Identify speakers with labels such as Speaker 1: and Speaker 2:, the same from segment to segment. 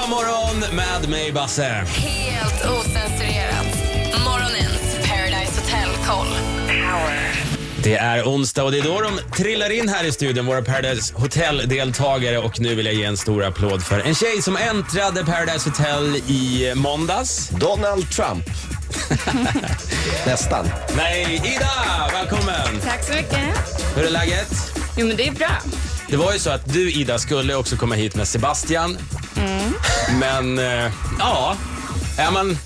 Speaker 1: God morgon med mig, Basse.
Speaker 2: Helt osensurerat. Morgonens Paradise Hotel koll.
Speaker 1: Det är onsdag och det är då de trillar in här i studion, våra Paradise Hotel-deltagare. Och nu vill jag ge en stor applåd för en tjej som äntrade Paradise Hotel i måndags.
Speaker 3: Donald Trump. Nästan.
Speaker 1: Nej, Ida! Välkommen!
Speaker 4: Tack så mycket.
Speaker 1: Hur är läget?
Speaker 4: Jo, men det är bra.
Speaker 1: Det var ju så att du, Ida, skulle också komma hit med Sebastian.
Speaker 4: Mm.
Speaker 1: Men, eh, ja. Är man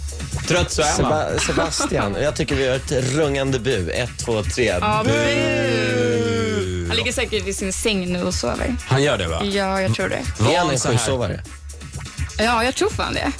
Speaker 1: trött så är man.
Speaker 3: Seba- Sebastian, jag tycker vi gör ett rungande bu. Ett, två, tre.
Speaker 4: Ja, bu. Han ligger säkert i sin säng nu och sover.
Speaker 1: Han gör det, va?
Speaker 4: Ja, jag tror det.
Speaker 1: Var
Speaker 3: Är han
Speaker 1: han
Speaker 3: en
Speaker 1: så här?
Speaker 3: sjusovare?
Speaker 4: Ja, jag tror fan det.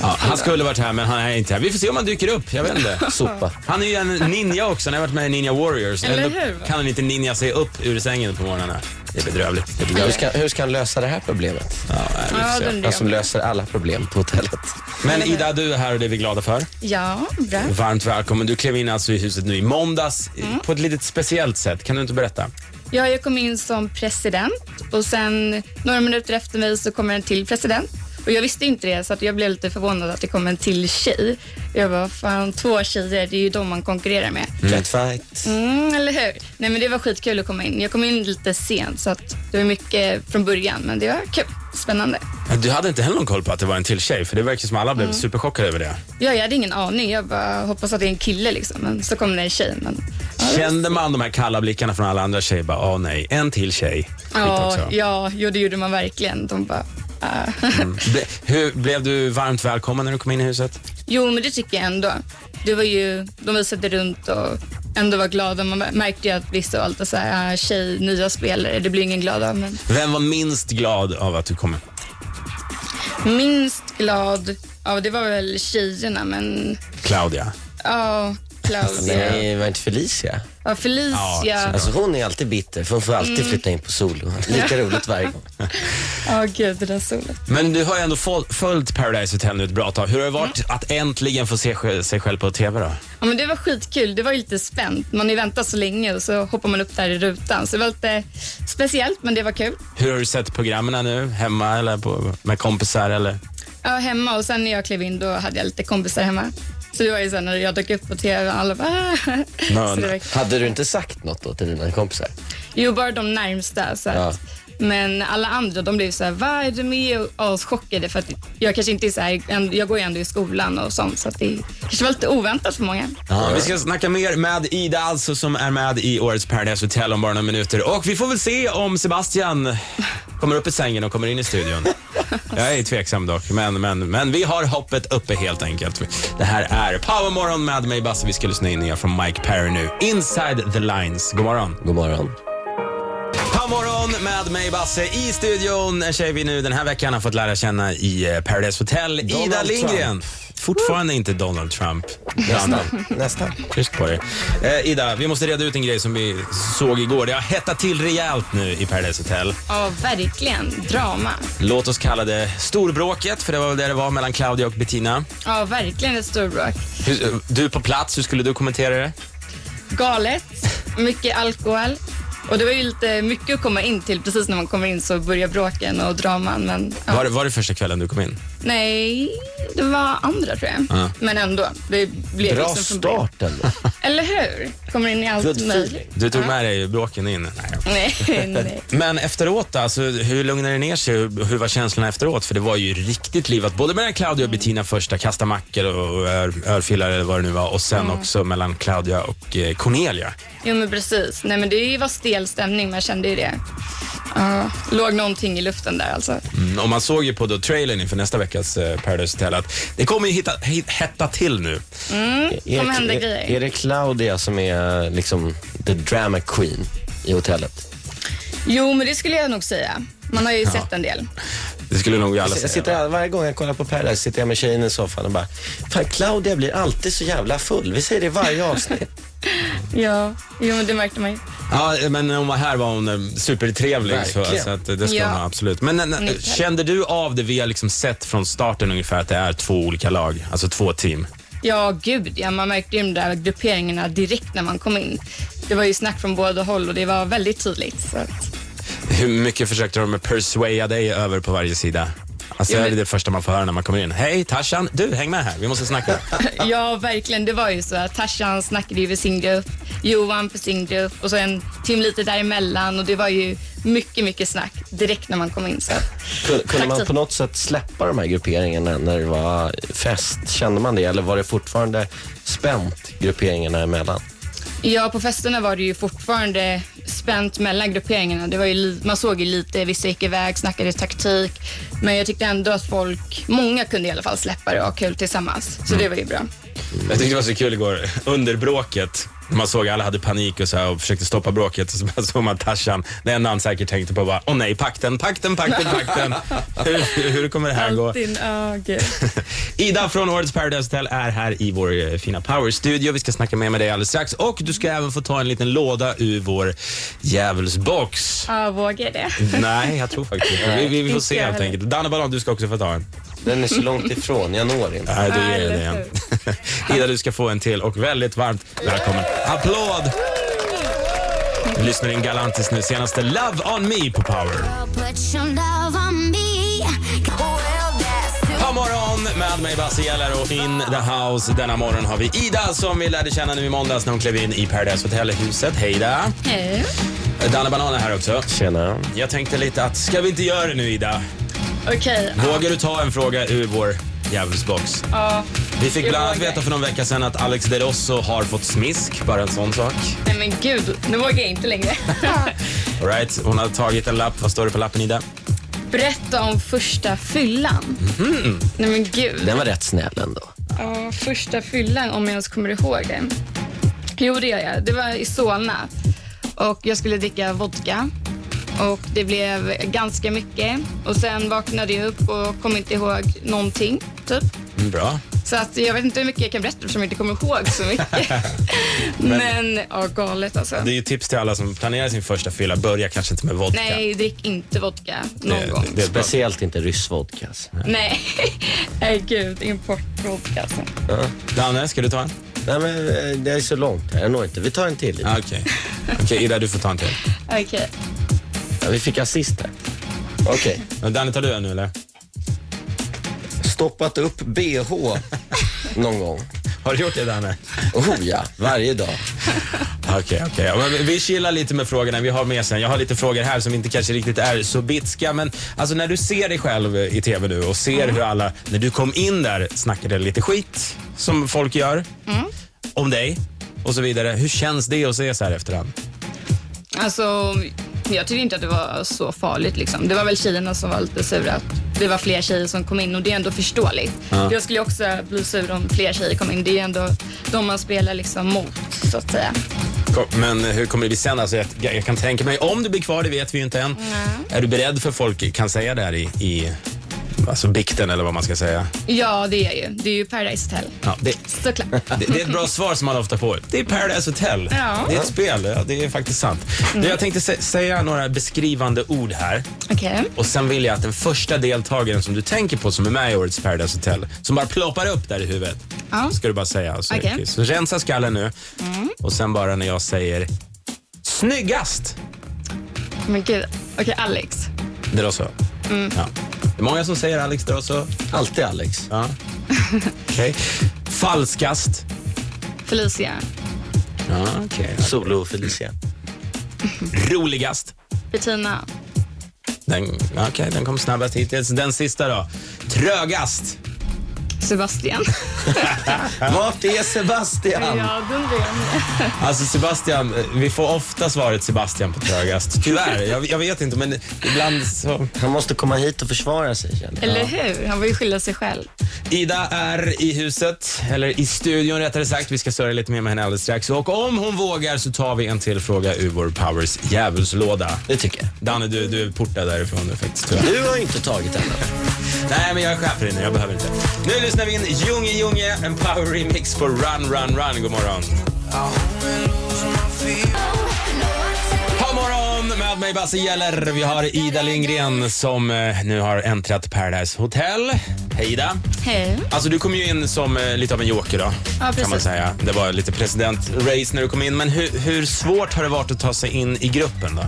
Speaker 1: Ja, han skulle varit här, men han är inte här. Vi får se om han dyker upp. Jag vet inte.
Speaker 3: Sopa.
Speaker 1: Han är ju en ninja också. Han har varit med i Ninja Warriors.
Speaker 4: Eller
Speaker 1: Ändå
Speaker 4: hur, va?
Speaker 1: kan han inte ninja sig upp ur sängen på morgnarna. Det är bedrövligt. Det är
Speaker 3: Hur
Speaker 1: bedrövligt.
Speaker 3: ska, hur ska han lösa det här problemet?
Speaker 1: Ja, nej, vi
Speaker 4: Ja,
Speaker 1: får se.
Speaker 4: den
Speaker 3: Han som löser alla problem på hotellet.
Speaker 1: Men Ida, du är här och det är vi glada för.
Speaker 4: Ja, bra.
Speaker 1: Varmt välkommen. Du klev in alltså i huset nu i måndags i-
Speaker 4: Mm.
Speaker 1: på ett litet speciellt sätt. Kan du inte berätta?
Speaker 4: Ja, jag kom in som president och sen några minuter efter mig så kommer en till president. Och jag visste inte det, så att jag blev lite förvånad att det kom en till tjej. Jag bara, fan två tjejer, det är ju de man konkurrerar med.
Speaker 3: Cat fight.
Speaker 4: Mm, eller hur? Nej, men det var skitkul att komma in. Jag kom in lite sent, så att det var mycket från början, men det var kul. Spännande.
Speaker 1: Men Du hade inte heller någon koll på att det var en till tjej, för det verkar som alla blev
Speaker 4: Mm.
Speaker 1: superchockade över det.
Speaker 4: Ja, jag hade ingen aning. Jag bara hoppas att det är en kille liksom. Men så kom det en tjej. Men...
Speaker 1: Kände man de här kalla blickarna från alla andra tjejer? Bara, åh nej, en till tjej. Skit
Speaker 4: Ja,
Speaker 1: också.
Speaker 4: ja, jo, det gjorde man verkligen. De bara, ah.
Speaker 1: Ble, hur, blev du varmt välkommen när du kom in i huset?
Speaker 4: Jo, men det tycker jag ändå. Det var ju, de visade runt och ändå var glada. Man märkte ju att vissa och allt och så här, ah, tjej, nya spelare, det blir ingen glad av. Men
Speaker 1: Vem var minst glad av att du kom?
Speaker 4: minst glad, ja, det var väl tjejerna, men
Speaker 1: Claudia.
Speaker 4: ja, Claudia.
Speaker 3: Nej, var inte Felicia?
Speaker 4: Ja,
Speaker 1: Ja, Mm.
Speaker 4: Felicia.
Speaker 3: Alltså hon är alltid bitter, för hon får alltid flytta in på solo. Lika roligt varje gång.
Speaker 4: Ja, gud, det där solen.
Speaker 1: Men du har ju ändå fol- följt Paradise Hotel nu ett bra tag. Hur har det varit att äntligen få se sj- sig själv på TV då?
Speaker 4: Ja, men det var skitkul. Det var ju lite spänt. Man har ju väntat så länge och så hoppar man upp där i rutan. Så det var lite speciellt, men det var kul.
Speaker 1: Hur har du sett programmen nu? Hemma eller på, med kompisar eller?
Speaker 4: Jag var hemma och sen när jag klev in då hade jag lite kompisar hemma. Så det var ju sen när jag dök upp på tv och alla bara... "Ah."
Speaker 1: Nå,
Speaker 4: så det
Speaker 1: nå.
Speaker 4: var...
Speaker 3: Hade du inte sagt något då till dina kompisar?
Speaker 4: Jo, bara de närmsta. Så att... Men alla andra de blev så här, vad är du med och aschockade för att jag kanske inte är så här, jag går ju ändå i skolan och sånt så att det kanske var lite oväntat för många.
Speaker 1: Ja, vi ska snacka mer med Ida alltså som är med i årets Paradise Hotel om bara några minuter. Och vi får väl se om Sebastian kommer upp i sängen och kommer in i studion. Jag är tveksam dock, men, men, men vi har hoppet uppe helt enkelt. Det här är Powermorgon med mig Basse. Vi ska lyssna in nya från Mike Perry nu. Inside the lines. God morgon.
Speaker 3: God morgon.
Speaker 1: Powermorgon med mig Basse i studion. En tjej vi nu den här veckan har fått lära känna i eh, Paradise Hotel.
Speaker 3: Donald
Speaker 1: Ida Lindgren.
Speaker 3: Trump.
Speaker 1: Fortfarande inte Donald Trump. Nästan.
Speaker 3: Nästan.
Speaker 1: Tyst på dig. Eh, Ida, vi måste reda ut en grej som vi såg igår. Det har hettat till rejält nu i Paradise Hotel.
Speaker 4: Ja, verkligen. Drama.
Speaker 1: Låt oss kalla det storbråket, för det var väl det det var mellan Claudia och Bettina.
Speaker 4: Ja, verkligen ett storbråk.
Speaker 1: Hur, eh, du på plats, hur skulle du kommentera det?
Speaker 4: galet, mycket alkohol. Och det var ju lite mycket att komma in till. Precis när man kommer in så börjar bråken och draman. Men, ja.
Speaker 1: Var, var det första kvällen du kom in?
Speaker 4: Nej, det var andra tror jag.
Speaker 1: Ja.
Speaker 4: Men ändå. Det blev
Speaker 3: Bra
Speaker 4: liksom från början.
Speaker 3: start ändå.
Speaker 4: Eller hur? Kommer in i
Speaker 3: Good
Speaker 4: allt
Speaker 3: feeling.
Speaker 4: möjligt.
Speaker 1: Du tog med dig bråken in. Nej.
Speaker 4: Nej, nej.
Speaker 1: Men efteråt, alltså, hur lugnade det ner sig? Hur, hur var känslorna efteråt? För det var ju riktigt livat, både mellan Claudia och Bettina första, kasta mackor och, och ör, örfilar eller vad det nu var, och sen också mellan Claudia och eh, Cornelia.
Speaker 4: Jo, men precis. Nej, men det var stel stämning. Man kände ju det. Ja, låg någonting i luften där alltså.
Speaker 1: Mm, och man såg ju på då trailern inför nästa veckas eh, Paradise Hotel att det kommer ju hitta, hit, hetta till nu.
Speaker 3: Är,
Speaker 4: kommer
Speaker 3: det-
Speaker 4: hända
Speaker 3: är-
Speaker 4: grejer.
Speaker 3: Är det Claudia som är liksom the drama queen i hotellet?
Speaker 4: Jo, men det skulle jag nog säga. Man har ju sett en del.
Speaker 1: Det skulle nog alla
Speaker 3: Jag,
Speaker 1: säga.
Speaker 3: sitter, här- varje gång jag kollar på Paradise sitter jag med tjejen i soffan och bara, fan Claudia blir alltid så jävla full. Vi säger det i varje avsnitt.
Speaker 4: Ja, jo, men det märkte man ju.
Speaker 1: Ja, eh, men när hon var här var hon eh, supertrevlig. Så,
Speaker 3: Verkligen.
Speaker 1: så att eh, det ska
Speaker 4: Ja.
Speaker 1: hon ha, absolut. Men eh, eh, kände du av det vi har liksom sett från starten ungefär att det är två olika lag, alltså två team?
Speaker 4: Ja, gud ja. Man märkte ju de där grupperingarna direkt när man kom in. Det var ju snack från båda håll och det var väldigt tydligt. Så att,
Speaker 1: Hur mycket försökte de persuada dig över på varje sida? Alltså,
Speaker 4: Ja, men-
Speaker 1: Det är det första man får höra när man kommer in. Hej Tarzan, du häng med här, vi måste snacka.
Speaker 4: Ja, verkligen. Det var ju så att Tarzan snackade ju för sin grupp, Johan för sin grupp och så en tim lite däremellan och det var ju mycket, mycket snack direkt när man kom in. Så.
Speaker 3: Kunde, kunde
Speaker 4: Tack
Speaker 3: man
Speaker 4: så-
Speaker 3: på något sätt släppa de här grupperingarna när det var fest? Kände man det eller var det fortfarande spänt grupperingarna emellan?
Speaker 4: Ja, på festerna var det ju fortfarande spänt mellan grupperingarna. Det var ju, li- man såg ju lite, vissa gick iväg, snackade taktik, men jag tyckte ändå att folk, många kunde i alla fall släppa det och ha kul tillsammans, så det var ju bra.
Speaker 1: Jag tyckte det var så kul igår, under bråket. när Man såg alla hade panik och, så här, och försökte stoppa bråket och så bara såg man Tarzan. Det enda han säkert tänkte på var, åh nej, pakten, pakten, pakten, pakten. hur, hur kommer det här gå? Ida från Årets Paradise Hotel är här i vår eh, fina Power-studio. Vi ska snacka mer med dig alldeles strax och du ska även få ta en liten låda ur vår djävulsbox.
Speaker 4: Ja, vågar det.
Speaker 1: Mm. Nej, jag tror faktiskt inte. Vi, vi, vi får
Speaker 4: Inte
Speaker 1: se
Speaker 4: jag
Speaker 1: helt
Speaker 4: heller.
Speaker 1: enkelt. Danne Banan, du ska också få ta en.
Speaker 3: Den är så långt ifrån, jag når inte.
Speaker 1: Nej, du
Speaker 4: Ja,
Speaker 1: ger jag
Speaker 4: eller
Speaker 1: den igen. Ida, du ska få en till och väldigt varmt välkommen. Applåd! Vi lyssnar in Galantis nu, senaste Love on me på Power.
Speaker 5: Put some love on me. Well, that's too
Speaker 1: God morgon med mig Basse Geller och in the house denna morgon har vi Ida som vi lärde känna nu i måndags när hon klev in i Paradise Hotel-huset. Hej Ida!
Speaker 4: Hej.
Speaker 1: Danne Banan är här också.
Speaker 3: Tjena.
Speaker 1: Jag tänkte lite att, ska vi inte göra det nu Ida?
Speaker 4: Okej.
Speaker 1: Vågar du ta en fråga ur vår djävulsbox?
Speaker 4: Ja.
Speaker 1: Vi fick
Speaker 4: Jag
Speaker 1: bland annat
Speaker 4: vågar.
Speaker 1: veta för någon vecka sedan att Alex De Rosso har fått smisk, bara en sån sak.
Speaker 4: Nej men gud, nu vågar jag inte längre.
Speaker 1: All right, hon har tagit en lapp. Vad står det på lappen Ida?
Speaker 4: Berätta om första fyllan. Nej men gud.
Speaker 3: Den var rätt snäll ändå.
Speaker 4: Ja, första fyllan om jag ens kommer ihåg den. Jo det gör jag. Det var i Solna. Och jag skulle dricka vodka. Och det blev ganska mycket. Och sen vaknade jag upp och kom inte ihåg någonting. Typ.
Speaker 1: Mm, Bra.
Speaker 4: Så att jag vet inte hur mycket jag kan berätta eftersom jag inte kommer ihåg så mycket. Men ja, galet alltså.
Speaker 1: Det är ju tips till alla som planerar sin första fylla. Börja kanske inte med vodka.
Speaker 4: Nej, drick inte vodka någon
Speaker 1: det,
Speaker 4: gång.
Speaker 1: det är ett bra
Speaker 3: Speciellt inte rysk vodka. alltså.
Speaker 4: Nej, nej gud, importvodka alltså.
Speaker 1: Danne, ska du ta en?
Speaker 3: Nej, men eh, det är så långt här, jag når inte. Vi tar en till.
Speaker 1: Ah, Okej, Okej, Ida du får ta en till.
Speaker 4: Okej.
Speaker 3: Ja, vi fick assist här. Okej.
Speaker 1: Men Danne, tar du en nu eller?
Speaker 3: Stoppat upp bh någon gång.
Speaker 1: Har du gjort det Danne?
Speaker 3: Oh ja, varje dag.
Speaker 1: Okej, okej. Ja, men vi- Vi chillar lite med frågorna vi har med sen. Jag har lite frågor här som inte kanske riktigt är så bitska, men alltså när du ser dig själv i TV nu och ser
Speaker 4: Mm.
Speaker 1: hur alla, när du kom in där, snackade lite skit som folk gör
Speaker 4: Mm.
Speaker 1: om dig och så vidare. Hur känns det att se så här efterhand?
Speaker 4: Alltså, jag tyckte inte att det var så farligt. Liksom. Det var väl tjejerna som var lite sura. att Det var fler tjejer som kom in och det är ändå förståeligt. Jag skulle ju också bli sur om fler tjejer kom in. Det är ju ändå de man spelar liksom mot, så att säga.
Speaker 1: Kom- Men eh, hur kommer det bli sen? Alltså, jag, jag kan tänka mig, om du blir kvar, det vet vi ju inte än. Är du beredd för folk kan säga det här i, i alltså bikten eller vad man ska säga?
Speaker 4: Ja, det är jag ju. Det är ju Paradise Hotel.
Speaker 1: Ja, det,
Speaker 4: Såklart.
Speaker 1: Det, det är ett bra svar som man ofta får. Det är Paradise Hotel.
Speaker 4: Ja. Mm.
Speaker 1: Det är ett spel. Ja, det är faktiskt sant. Du, jag tänkte sä- säga några beskrivande ord här.
Speaker 4: Okej.
Speaker 1: Och Sen vill jag att den första deltagaren som du tänker på som är med i årets Paradise Hotel, som bara ploppar upp där i huvudet,
Speaker 4: Ja.
Speaker 1: ska du bara säga. Så,
Speaker 4: Okej. Mm.
Speaker 1: så rensa skallen nu. Och sen bara när jag säger snyggast.
Speaker 4: Men gud. Okej, Alex.
Speaker 1: Det är så. Ja. Det är många som säger Alex, det är så.
Speaker 3: Alltid Alex.
Speaker 1: Ja. Okej. Falskast.
Speaker 4: Felicia.
Speaker 1: Ja, okej.
Speaker 3: Solo och Felicia.
Speaker 1: Roligast.
Speaker 4: Bettina.
Speaker 1: Den, okay, den kom snabbast hittills. Den sista då. Trögast.
Speaker 4: Sebastian.
Speaker 3: Vart är Sebastian?
Speaker 4: ja, Dundren.
Speaker 1: Alltså Sebastian, eh, vi får ofta svaret Sebastian på trögast. Tyvärr, jag, jag vet inte men ibland så.
Speaker 3: Han måste komma hit och försvara sig. känner jag.
Speaker 4: Eller hur? Han var ju skylla sig själv.
Speaker 1: Ida är i huset, eller i studion rättare sagt. Vi ska sörja lite mer med henne alldeles strax. Och om hon vågar så tar vi en till fråga ur vår Powers djävulslåda.
Speaker 3: Det tycker jag.
Speaker 1: Danne, du, du är portad därifrån nu faktiskt tyvärr.
Speaker 3: Du har ju inte tagit den.
Speaker 1: Nej, men jag är chef här inne, jag behöver inte. Nu lyssnar vi in Junge Junge, en power remix på Run Run Run. God morgon. God morgon med mig Basse Gäller. Vi har Ida Lindgren som eh, nu har äntrat Paradise Hotel. Hej Ida.
Speaker 4: Hej.
Speaker 1: Alltså du kom ju in som eh, lite av en joker då. Kan man
Speaker 4: precis.
Speaker 1: säga. Det var lite presidentrace när du kom in. Men hur, hur svårt har det varit att ta sig in i gruppen då?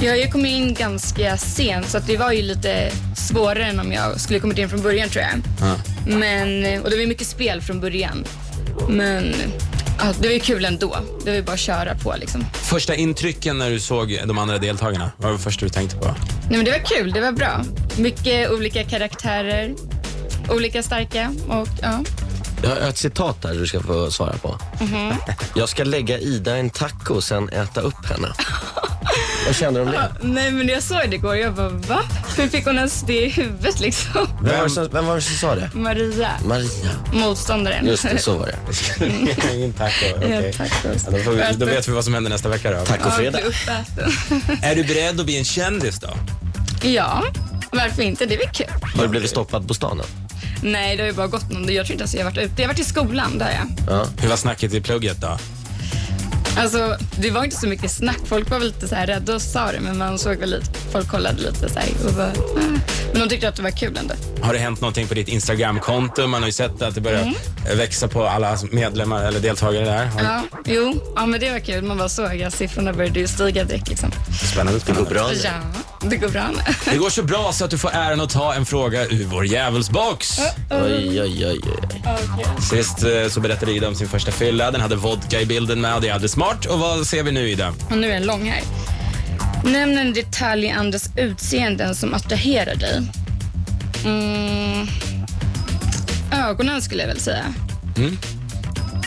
Speaker 4: Jag jag kom ju in ganska sent så att det var ju lite svårare än om jag skulle kommit in från början tror jag.
Speaker 1: Ja.
Speaker 4: Men, och det var ju mycket spel från början. Men ja, det var ju kul ändå. Det var ju bara att köra på liksom.
Speaker 1: Första intrycken när du såg de andra deltagarna, vad var det första du tänkte på?
Speaker 4: Nej, men det var kul, det var bra. Mycket olika karaktärer, olika starka och ja.
Speaker 3: Jag har ett citat där du ska få svara på. Jag ska lägga Ida en taco och sen äta upp henne. Vad känner du om det?
Speaker 4: Nej men jag såg det igår jag bara va? Hur fick hon ens det i huvudet liksom?
Speaker 3: Vem var det som, vem var det som sa det?
Speaker 4: Maria,
Speaker 3: Maria.
Speaker 4: motståndaren.
Speaker 3: Just det, så var det.
Speaker 1: Ingen taco. okej.
Speaker 4: Ja, tack.
Speaker 1: Ja, då, får vi, då vet vi vad som händer nästa vecka då.
Speaker 4: Ja,
Speaker 3: Tacofredag.
Speaker 4: bli uppäten.
Speaker 1: Är du beredd att bli en kändis då?
Speaker 4: ja, varför inte? Det är väl kul?
Speaker 3: Har du blivit stoppad på stan? än?
Speaker 4: Nej, det har ju bara gått någon Jag tror inte ens jag har varit ute. Jag har varit i skolan, där jag.
Speaker 3: Ja.
Speaker 1: Hur var snacket i plugget då?
Speaker 4: Alltså, det var inte så mycket snack. Folk var väl lite så här rädda och sa det, men man såg väl lite. Folk kollade lite så här och bara, "Ah." Men de tyckte att det var kul ändå.
Speaker 1: Har det hänt någonting på ditt Instagram-konto? Man har ju sett att det börjar
Speaker 4: Mm.
Speaker 1: växa på alla medlemmar eller deltagare där. Har-
Speaker 4: Ja, jo, ja, men det var kul. Man bara såg att siffrorna började ju stiga direkt liksom.
Speaker 1: Spännande.
Speaker 3: Det går bra nu.
Speaker 4: Ja, det går bra nu.
Speaker 1: Det går så bra så att du får äran att ta en fråga ur vår djävulsbox.
Speaker 3: Oj, oj, oj. oj.
Speaker 1: Sist eh, så berättade Ida om sin första fylla. Den hade vodka i bilden med och det är alldeles smart. Och vad ser vi nu Ida?
Speaker 4: Och nu är den lång här. Nämn en detalj i andras utseenden som attraherar dig. Mm. Ögonen skulle jag väl säga.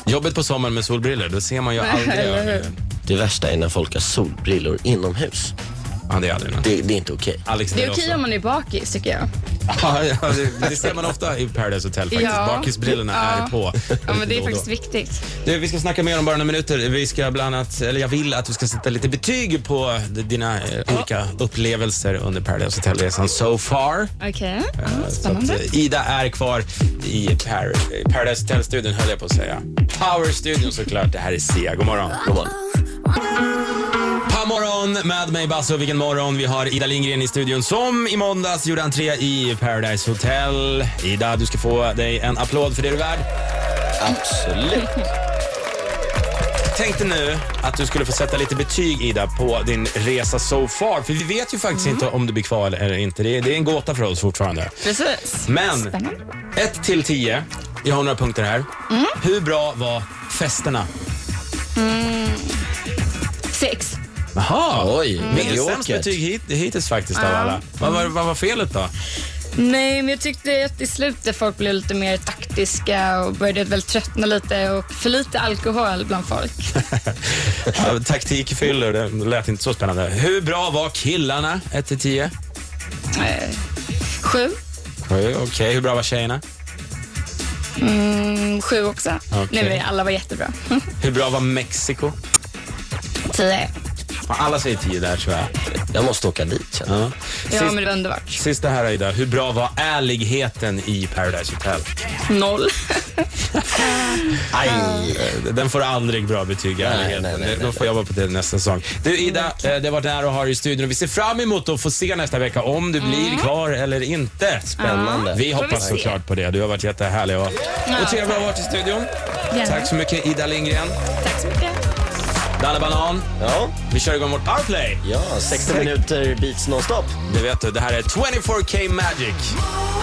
Speaker 1: Jobbet på sommaren med solbriller, då ser man ju aldrig
Speaker 4: Eller hur?
Speaker 1: ögonen.
Speaker 3: Det värsta är när folk har solbrillor inomhus.
Speaker 1: Ja, det är aldrig någon.
Speaker 3: Det, det är inte okej.
Speaker 1: Alex
Speaker 4: Det är
Speaker 1: Nelson.
Speaker 4: okej om man är bakis tycker jag.
Speaker 1: Ja, ja, det, det ser man ofta i Paradise Hotel faktiskt.
Speaker 4: Ja.
Speaker 1: Bakisbrillorna är
Speaker 4: Ja.
Speaker 1: på.
Speaker 4: Ja, men det
Speaker 1: Då
Speaker 4: är
Speaker 1: och då.
Speaker 4: faktiskt viktigt.
Speaker 1: Du, vi ska snacka mer om bara några minuter. Vi ska bland annat, eller jag vill att du ska sätta lite betyg på d- dina eh, olika upplevelser under Paradise Hotel-resan so far.
Speaker 4: Okej, ja,
Speaker 1: Så att,
Speaker 4: spännande.
Speaker 1: eh, Ida är kvar i Par- eh, Paradise Hotel-studion höll jag på att säga. Power-studion såklart. Det här är Sia. God morgon.
Speaker 3: God morgon.
Speaker 1: Pa morgon med mig Basse vilken morgon. Vi har Ida Lindgren i studion som i måndags gjorde entré i Paradise Hotel. Ida, du ska få dig en applåd för det du är värd.
Speaker 3: Absolut.
Speaker 1: Tänkte nu att du skulle få sätta lite betyg Ida på din resa so far. För vi vet ju faktiskt inte om du blir kvar eller inte. Det är, det är en gåta för oss fortfarande.
Speaker 4: Precis.
Speaker 1: Men
Speaker 4: Spännande.
Speaker 1: 1 till 10. Jag har några punkter här.
Speaker 3: Mm.
Speaker 1: Hur bra var festerna?
Speaker 4: Sex.
Speaker 1: Jaha,
Speaker 3: Oj,
Speaker 1: det är sämst
Speaker 3: mediokert.
Speaker 1: betyg hit, hittills faktiskt av
Speaker 4: Ja.
Speaker 1: alla. Vad var, vad var felet då?
Speaker 4: Nej, men jag tyckte att i slutet folk blev lite mer taktiska och började väl tröttna lite och för lite alkohol bland folk.
Speaker 1: Ja, taktikfyller, det lät inte så spännande. Hur bra var killarna? 1 till 10?
Speaker 4: Eh, Sju.
Speaker 1: Okej, hur bra var tjejerna?
Speaker 4: Mm, sju också.
Speaker 1: Okej.
Speaker 4: Nej, men alla var jättebra.
Speaker 1: Hur bra var Mexiko?
Speaker 4: Tio.
Speaker 1: Ja, Alla säger 10 där tror jag.
Speaker 3: Jag måste åka dit känner jag.
Speaker 1: Ja.
Speaker 4: Ja,
Speaker 1: Sist,
Speaker 4: men det var underbart.
Speaker 1: sista här Ida, hur bra var ärligheten i Paradise Hotel?
Speaker 4: Noll.
Speaker 3: Aj.
Speaker 1: Eh, Den får aldrig bra betyg, ärligheten.
Speaker 3: nej, nej, Mm,
Speaker 1: Då
Speaker 3: nej.
Speaker 1: får jag jobba på det nästa säsong. Du Ida, eh, det var där och har dig i studion. Vi ser fram emot att få se nästa vecka om du
Speaker 4: Mm.
Speaker 1: blir kvar eller inte.
Speaker 3: Spännande.
Speaker 1: Vi
Speaker 4: Får vi
Speaker 1: hoppas
Speaker 4: se.
Speaker 1: såklart på det. Du har varit jättehärlig och, och trevlig att ha varit i studion. Tack så mycket Ida Lindgren.
Speaker 4: Tack så mycket.
Speaker 1: Danne Banan,
Speaker 3: Ja.
Speaker 1: vi kör igång vårt powerplay.
Speaker 3: ja, 60 minuter beats nonstop.
Speaker 1: Det vet du, det här är 24K Magic.
Speaker 5: Morgon,